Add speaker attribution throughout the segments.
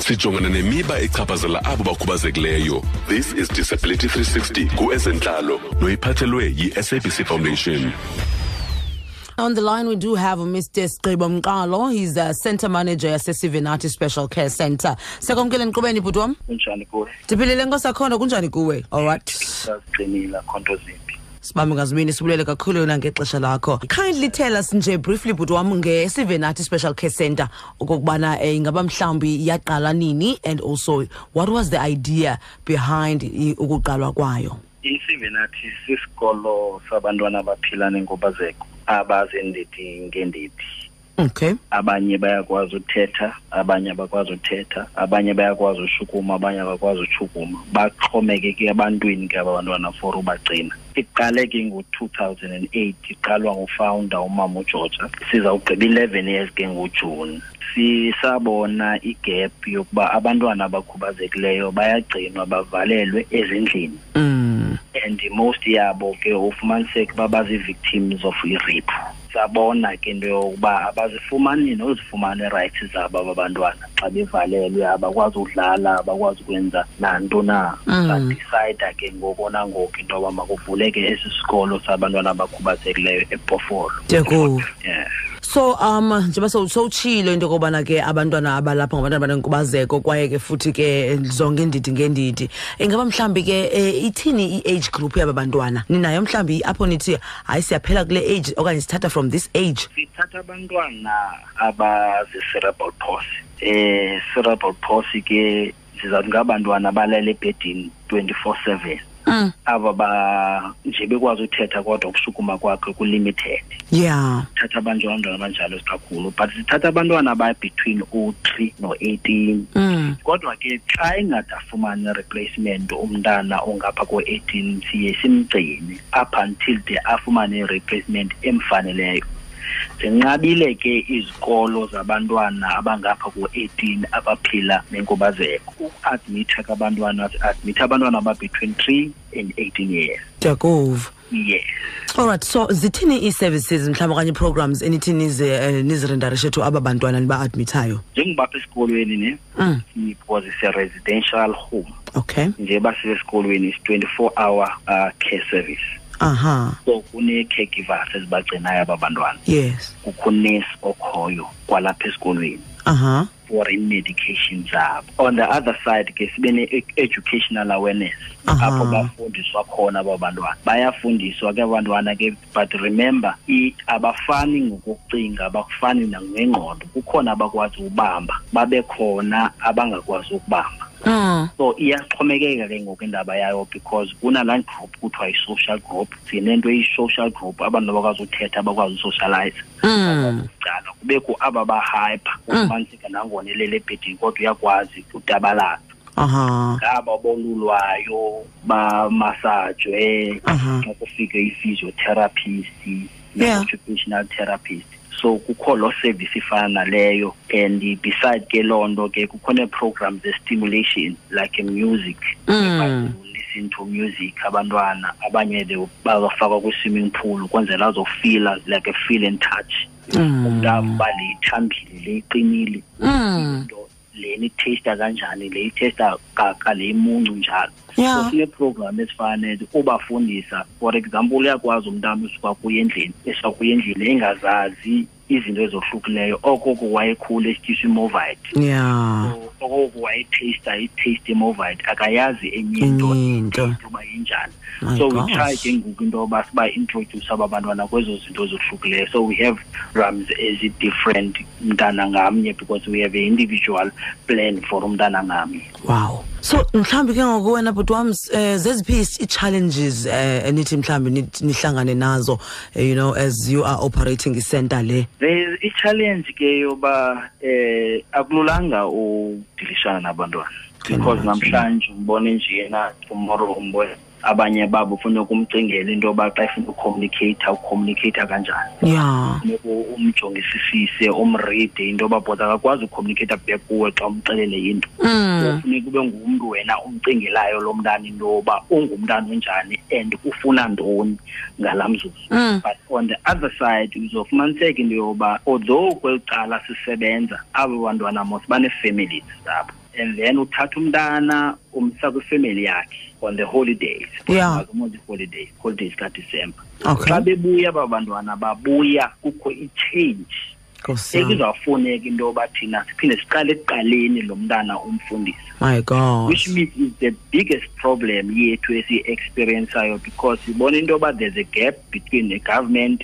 Speaker 1: sijongana nemiba echaphazela abo bakhubazekileyo this is disability 360 kuezentlalo noyiphathelwe yi-sabc foundation
Speaker 2: On the line, we do have Mr. Skribo Mkalo. He's a center manager at Sivinati Special Care Center. Sekomkele nkqubeni bhuti wam.
Speaker 3: kunjani kuwe
Speaker 2: Ndiphilile nkosakhona kunjani kuwe? All right.
Speaker 3: saziqinile akho nto zimbi
Speaker 2: Sibambe ngazibini sibulele kakhulu yona ngexesha lakho. Kindly tell us nje briefly bhuti wam ngeSivinati Special Care Center okokubana eh, ingaba mhlambi yaqala nini and also what was the idea behind i- ukuqalwa kwayo?
Speaker 3: isivenathi sisikolo sabantwana abaphila nenkubazeko abazendidi ngendidi
Speaker 2: Okay.
Speaker 3: abanye bayakwazi uthetha abanye abakwazi uthetha abanye bayakwazi ushukuma abanye abakwazi ushukuma baxhomekeke ebantwini ke aba bantwana for ubagcina iqale ke ngo-two thousand and eight iqalwa ngufounder umama ugeorgia sizawugqiba eleven years ke ngujuni sisabona igap yokuba abantwana abakhubazekileyo bayagcinwa bavalelwe ezindlini
Speaker 2: Mm.
Speaker 3: and most yabo ke ufumaniseke uba bazii-victims of i-rape sabona ke into yokuba abazifumani nozifumana ii-rights zabo aba bantwana xa bevalelwe abakwazi udlala abakwazi ukwenza nanto na
Speaker 2: Mm.
Speaker 3: sadicayida ke ngoko nangoku into yoba makuvuleke esi sikolo sabantwana abakhubazekileyo ebhofolo
Speaker 2: Ndiyakuva.
Speaker 3: yeah.
Speaker 2: so um njengoba sow- sowutshilo into yokubana ke abantwana abalapha ngabantwana abanenkubazeko kwaye ke futhi ke zonke iindidi ngeendidi ingaba mhlawumbi ke eh, ithini i-age group yaba bantwana ninayo mhlawumbi apho nithi hayi siyaphela kule age okanye sithatha from this age
Speaker 3: sithatha abantwana abazi-cerebral palsy eh cerebral palsy ke sizawuthi ngabantwana abalala ebhedini 24 7
Speaker 2: mm.
Speaker 3: aba ba nje bekwazi uthetha kodwa ukushukuma kwakhe kulimited
Speaker 2: yeah
Speaker 3: thatha abantwana abanjalo kakhulu but sithatha abantwana oh ababetween o-three no-eighteen
Speaker 2: mm.
Speaker 3: kodwa ke xa engadafumani replacement umntana ongapha ko-eighteen siye simgcine up until de afumane i-replacement emfaneleyo zinqabile ke izikolo zabantwana abangapha ko-eighteen abaphila nenkubazeko ukuadmitha kabantwana admitha abantwana ababetween three and eighteen years
Speaker 2: ndiyakuva
Speaker 3: yes
Speaker 2: allright so zithini ii-services mhlawumbi okanye ii-programs enithi nize, eh, nizirendarishe to aba bantwana niba-admithayo
Speaker 3: njengobapha esikolweni ne
Speaker 2: mm.
Speaker 3: because it's a residential home
Speaker 2: okay
Speaker 3: njeba sisesikolweni is 24 hour uh, care service
Speaker 2: aha
Speaker 3: so kune-caregivers ezibagcinayo aba bantwana
Speaker 2: yes
Speaker 3: kukhonesi okhoyo kwalapha esikolweni
Speaker 2: aha
Speaker 3: for i-medication zabo on the other side ke sibe ne-educational awareness
Speaker 2: Aha.
Speaker 3: apho bafundiswa khona aba bantwana bayafundiswa ke abantwana ke but remember i- abafani ngokucinga abafani nangengqondo kukhona abakwazi ukubamba babe khona abangakwazi ukubamba
Speaker 2: mm.
Speaker 3: so iyaxhomekeka ke ngoku indaba yayo because kunalaa group kuthiwa yi-social group sinento eyi-social group abantu abakwazi uthetha abakwazi usocialize
Speaker 2: Mm.
Speaker 3: cala kubekho aba bahyper ufumaniseka nangona elele ebhedini kodwa uyakwazi udabalala
Speaker 2: aha
Speaker 3: ngaba bolulwayo bamasajwe
Speaker 2: Aha.
Speaker 3: eh, kufike i-physiotherapist
Speaker 2: Yeah.
Speaker 3: ne-occupational therapist so kukho loo service ifana naleyo and beside ke loo nto ke kukho nee-program ze-stimulation like music
Speaker 2: Mm.
Speaker 3: listen to music abantwana abanye de bazafakwa kwi-swimming pool kwenzela azofila like a feel and touch
Speaker 2: Mm.
Speaker 3: umntu ava le ithambile le iqinile
Speaker 2: Mm.
Speaker 3: into leni ithesta kanjani le ithesta kaka le imuncu njalo
Speaker 2: Yeah.
Speaker 3: so sineprogram ezifana nezo ubafundisa for example uyakwazi umntana usuka kuye endlini esuka kuye endlini engazazi izinto ezohlukileyo okoko wayekhulu esityiswa imovite
Speaker 2: yeah
Speaker 3: okoko wayethesta itheste imovite akayazi enye into
Speaker 2: enye into
Speaker 3: uba injani
Speaker 2: My
Speaker 3: so we try
Speaker 2: gosh.
Speaker 3: ke ngoku into yoba siba-introduce aba bantwana kwezo zinto zohlukileyo so we have rams ezi-different umntana ngamnye because we have an individual plan for umntana ngamnye
Speaker 2: wow so mhlawumbi ke ngoku wena bhuti wam um zeziphi ii-challenges um enithi mhlawumbi nithi- nihlangane nazo eh, you know as you are operating icenter le
Speaker 3: There- i-challenge ke yoba eh akululanga udilishana nabantwana because namhlanje umbone njena tomorrow umbone abanye babo funeka umcingele into yoba xa efuna ucommunicatha ucommunicatha kanjani
Speaker 2: yeah
Speaker 3: funeka umjongisisise umride into yoba bhota akakwazi ucommunicate back kuwe xa umxelele into
Speaker 2: mm.
Speaker 3: funeka ube ngumntu wena umcingelayo lo mntana into yoba ungumntana onjani and ufuna ntoni ngalaa mzuzu
Speaker 2: Mm.
Speaker 3: but on the other side uzofumaniseka into yoba although kweli cala sisebenza abo bantwana mos banee-families zabo and then uthatha umntana umsa kwifemeli yakhe on the holidays
Speaker 2: Yeah.
Speaker 3: holidays holidays kadisemba
Speaker 2: Okay.
Speaker 3: xa bebuya aba bantwana babuya kukho i-change
Speaker 2: Nkosi yam.
Speaker 3: ekuzawufuneka into yoba thina siphinde siqale ekuqaleni lo mntana umfundisa
Speaker 2: my god
Speaker 3: which means is the biggest problem yethu esiyi-experienceayo because sibona into yoba there's a gap between the government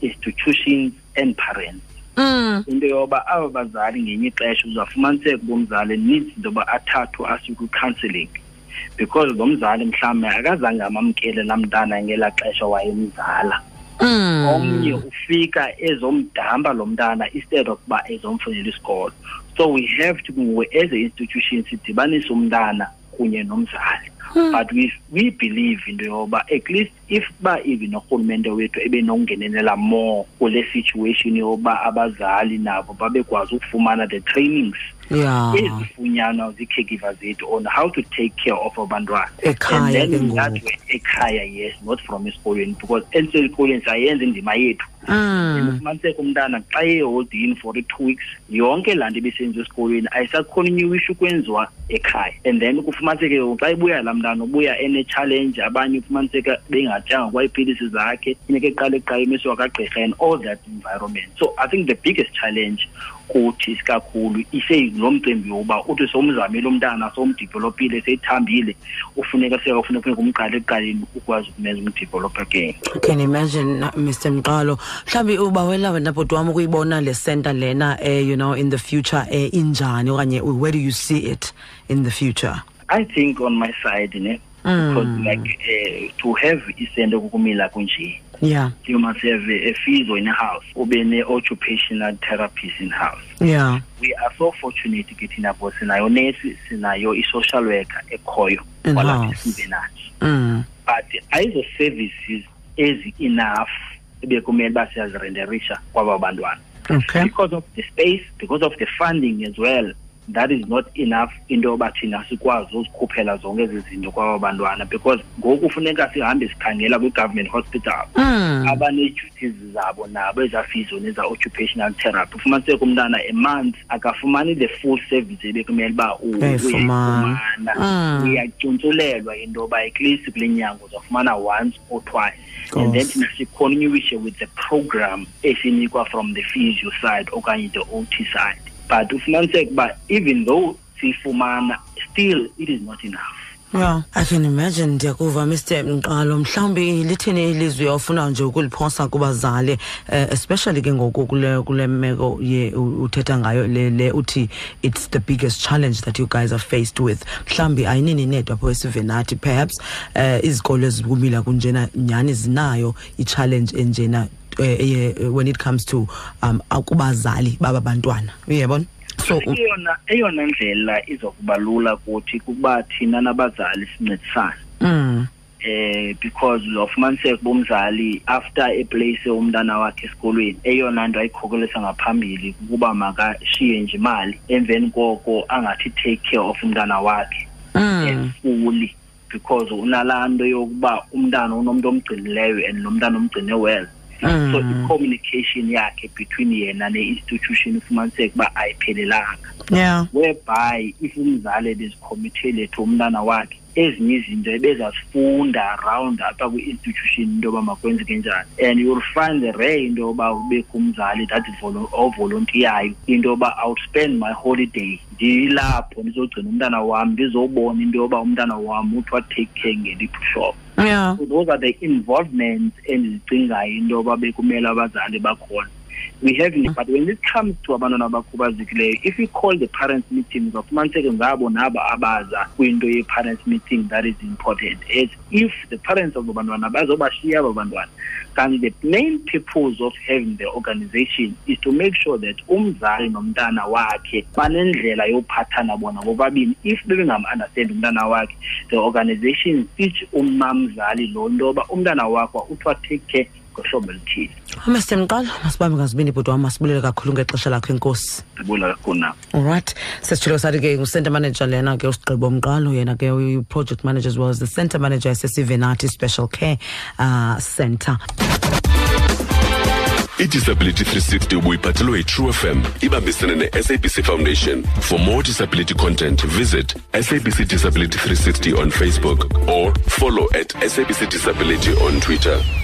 Speaker 3: institutions and parents
Speaker 2: Mm,
Speaker 3: into yoba aba bazali ngenye ixesha uzawufumaniseka uba umzali needs into yoba athathwe asiwe kwi-counselling because lo mzali mhlawumbi akazange amamkele laa mntana ngelaa xesha wayemzala
Speaker 2: mm.
Speaker 3: omnye ufika ezomdamba lo mntana instead of uba ezomfunela isikolo so we have to ngoku as a institution sidibanise umntana kunye nomzali but we, we believe into yoba at least if uba even urhulumente wethu ebenongenelela more kule situation yoba abazali nabo babekwazi ukufumana the trainings
Speaker 2: yeah
Speaker 3: ezifunyanwa zii-caregiver zethu on how to take care of abantwana
Speaker 2: Ekhaya
Speaker 3: and
Speaker 2: ke
Speaker 3: then
Speaker 2: ngoku.
Speaker 3: that way ekhaya yes not from esikolweni because esesikolweni sayenza indima yethu
Speaker 2: mm.
Speaker 3: ufumaniseka umntana xa eholidini for i-two weeks yonke laa nto ebisenziwa esikolweni ayisakhona inye wish ukwenziwa ekhaya and then kufumaniseke ngoku xa ebuya laa mntana ubuya ene-challenge abanye ufumaniseka bengatyanga kwaiipilisi zakhe funeka eqala eqaleni esiwakagqirha and all that environment so i think the biggest challenge kuthi kakhulu iseyilo mcimbi woba uthi somzamile umntana somdibholopile seyithambile ufuneka sekafuneka funeka umqale ekuqaleni ukwazi ukumenza umdibholopha again
Speaker 2: can imagine mr mqalo mhlawumbi ubawelawe nabhoti wam ukuyibona le center lena um you know in the future um injani okanye where do you see it in the future
Speaker 3: I think on my side, ne,
Speaker 2: Mm.
Speaker 3: because like uh, to have isento kukumila kunje,
Speaker 2: yeah
Speaker 3: you must have a, a physio in house, ube ne-occupational therapist in house.
Speaker 2: yeah
Speaker 3: We are so fortunate ke thina bo sinayo nesi, sinayo i-social worker ekhoyo
Speaker 2: In
Speaker 3: kwalapha
Speaker 2: house.
Speaker 3: sivenathi
Speaker 2: mm.
Speaker 3: but ayizo services ezi-enough ebekumele uba siyazirenderisha kwaba bantwana
Speaker 2: okay
Speaker 3: because of the space because of the funding as well that is not enough into yoba thina sikwazi uzikhuphela zonke ezi zinto kwaba bantwana because ngoku funeka sihambe sikhangela kwi-government hospital
Speaker 2: mm.
Speaker 3: abanee-duties zabo nabo ezafizo neza-occupational therapy ufumaniseka umntana a month akafumani the full service ebekumele uba u-
Speaker 2: Uyayifumana. Mm.
Speaker 3: uyacuntsulelwa into yoba at least kule nyango uzawufumana once or twice and then
Speaker 2: Yes.
Speaker 3: thina sicontinue with the program esinikwa from the physio side okanye the ot side but ufumaniseka uba even though siyifumana still it is not enough
Speaker 2: yeah i can imagine ndiyakuva mr mqalo mhlawumbi lithini ilizwi ofuna nje ukuliphosa kubazali um especially ke ngoku kule, kule meko ye u- uthetha ngayo le, le uthi it's the biggest challenge that you guys are faced with mhlawumbi ayinini nedwa pho esivenathi perhaps um uh, izikolo ezikumila kunjena nyhani zinayo itshallenji enjena um when it comes to um akubazali baba bantwana uyebona so u-
Speaker 3: eyona eyona ndlela izokuba lula kuthi kuba thina nabazali sincedisane
Speaker 2: mm,
Speaker 3: eh because uzofumaniseka uba umzali after eplace umntana wakhe esikolweni eyona nto ayikhokelisa ngaphambili kukuba makashiye nje imali emveni koko angathi take care of umntana wakhe
Speaker 2: mm.
Speaker 3: efuli because unalaa nto yokuba umntana unomntu omgcinileyo and lo mntana omgcine well
Speaker 2: Hmm.
Speaker 3: so i-communication yakhe between yena ne-institution ufumaniseka uba ayiphelelanga
Speaker 2: yeah
Speaker 3: whereby if umzali ebezikhomitele to umntana wakhe ezinye izinto ebezazifunda around apha kwi-institution into yoba makwenzeke njani and you'll find rare into yoba ubekho umzali that is volu- ovolontiyayo into yoba iwill spend my holiday ndilapho ndizogcina umntana wam ndizobona into yoba umntana wam uthiwa take care ngeliphushop
Speaker 2: yeah
Speaker 3: so those are the involvements endizicingayo into yoba bekumele abazali bakhona we have but when it comes to abantwana abakhubazekileyo if you call the parents meeting uzawufumaniseke ngabo nabo abaza kwinto ye-parents meeting that is important as if the parents of bantwana bazobashiya aba bantwana kanti the main purpose of having the organization is to make sure that umzali nomntana wakhe banendlela yophathana bona bobabini if bebengam-understandi umntana wakhe the organization teach umamzali loo nto yoba umntana wakho uthiwa take care ngohlobo elithile
Speaker 2: mr mqalo Oh, masibambe ngazibini ibhodi wam masibulele kakhulu ngexesha lakho enkosi
Speaker 3: ndibula kakhulu nam
Speaker 2: allright sesitshilo sathi ke ngucenter manager lena ke usigqibo mqalo yena ke uyi-project manager as well as the center manager yasesivenati special care uh, center
Speaker 1: idisability 360 ubuyiphathelwe yitrue fm ibambisene ne-sabc foundation for more disability content visit sabc disability 360 on facebook or follow at sabc disability on twitter